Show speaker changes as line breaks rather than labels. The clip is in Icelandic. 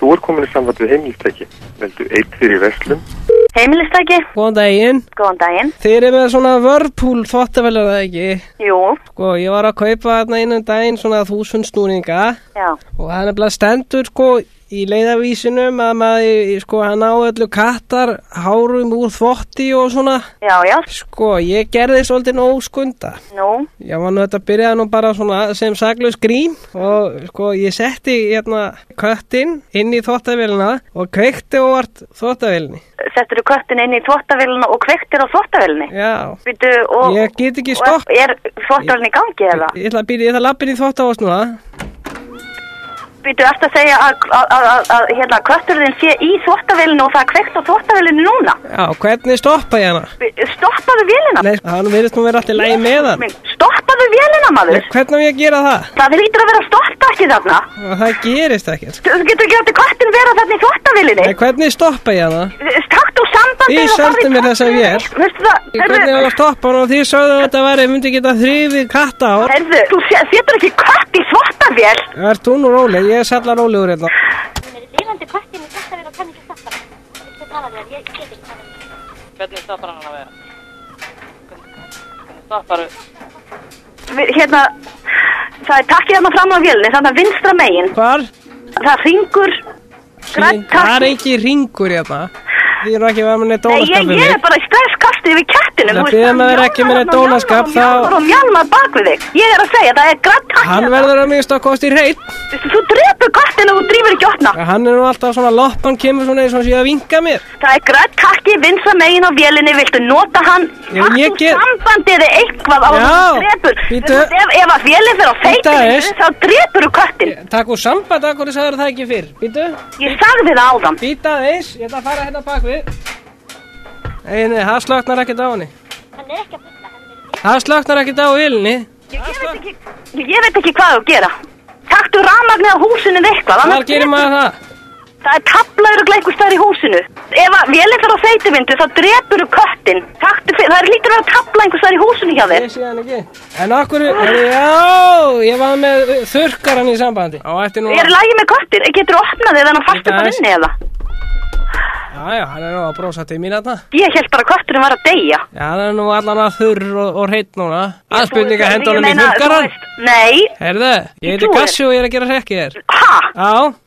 Þú er komin í samband við heimilistæki. Veldu eitt fyrir verslun.
Heimilistæki,
Góðan daginn.
góðan daginn.
Þeir eru með svona vörpúl þvottavelur það ekki.
Jú,
Sko, ég var að kaupa þarna innan daginn svona þúsund snúninga
já,
og það er nefnilega stendur sko í leiðavísinum að maður, sko, hann á öllu kattar hárum úr þvotti og svona.
já, já,
Sko, ég gerði svolítið nóg skunda.
nú,
Já, var nú þetta byrjaði nú bara svona sem saglaus grím og sko ég setti hérna köttin inn í þvóttavélina og kveikti óvart þvóttavélinni.
settur þú köttin inn í þvóttavélina og kvektir á þvóttavélinni?
Já,
Býtu og...
Ég get ekki
og
stopp.
Er þvóttavélin í gangi eða?
ég ætla að byrja, ég ætla að lappin í þvóttavás núna.
Býtu eftir að segja að, að, að, að, að hérna, köttur þinn sé í þvóttavélinu og það er kvekt á þvóttavélinni núna?
Já, hvernig stoppa ég hana?
Bí- Stoppaðu vélina?
Nei, hann verðist nú vera alltaf lægi með hann.
Minn, Stoppaðu vélina, maður?
Nei, hvernig á ég að gera það?
Það hlýtur að vera stoppt ekki þarna.
Og Það gerist ekkert. sko.
Þú þú getur ekki átti köttin vera þarna í þvóttavélinni.
Nei, hvernig stoppa ég hana?
Taktu sambandi
Ég seldi mér þessa vél.
Veistu það,
Hvernig á ég að stoppa hana og því sögðu að þetta væri, myndi geta þrýfið katta á.
Herðu, þú sé- setur ekki kött í þvottavél.
Er þú nú róleg? Ég er salla rólegur hérna.
Hún er lifandi kvartin í þvottavél og kann ekki stoppa hana. Ég get talað við hann, ég get ekki talað við hann.
Hvernig stoppar hann að vera? Hvernig stoppar
Við- Hérna, það er takkið hérna fram á vélni, þannig að vinstra megin.
Hvar?
Það ringur, grænt
Það er
takki.
ekki ringur hérna. Ég er nú ekki að vera með neitt
Nei,
dónaskap
ég,
við
ég er
mig.
bara í stresskasti yfir kettinum.
Það biðja mig að vera ekki með neitt dónaskap,
þá...
þá-
Mjálmar og mjálmar bak við þig. Ég er að segja, það er grænt takki.
Hann verður að minnst að kosti hreitt.
Þú drepur köttinu og þú drýfur ekki opna.
Hann er nú alltaf svona lopp, hann kemur svona eins og hann sé að vinka mér.
Það er grænt takki, vinstra megin á vélinni, viltu nota hann?
Já, en ég
Taktu
get-
Sambandi eða eitthvað á
Já,
þú drepur.
bíddu.
Þú- Ef, ef að vélinn fyrir á
Bíddu aðeins.
feitinu, þá drepur þú köttin.
Takk úr samband, akkur sagður það ekki fyrr. Býtu,
Ég sagði það áðan.
býta aðeins, ég ætla að fara hérna bak við. Nei, nei, það slöknar ekkert á henni.
Hann er ekki að fulla, hann er
Það slöknar ekkert á vilni.
Ég, ég, veit ekki, ég veit ekki hvað þú gera. Taktu ramagnir á húsinu eða eitthvað.
Hvað
annars-
gerir maður það?
Það er tablaður og gleikur stær í húsinu. Ef að vélinn fyrir á feituvindu, þá drepur þú köttin. Taktu fyrir, það er lítur að vera tabla einhver stær í húsinu hjá þér.
Ég sé hann ekki. En akkur, já, ég var með þurrkaran í sambandi. Á, eftir nú.
Ég er í lagi með köttin. Getur þú opnað þig þannig að fastu
Bíddu
bara
aðeins.
inni eða?
Já, já, hann er nú að brosa til mín þarna.
Ég held bara að kötturinn var að deyja.
Já, hann er nú allan að þurr og, og hreitt núna. Hann spurði ekki að
Ég
henda honum í
meina, þú
þurrkaran.
veist- Nei,
Herðu, ég
Ég
heiti
trúi þér.
Gassi og ég er að gera hrekki þér.
ha,
Já,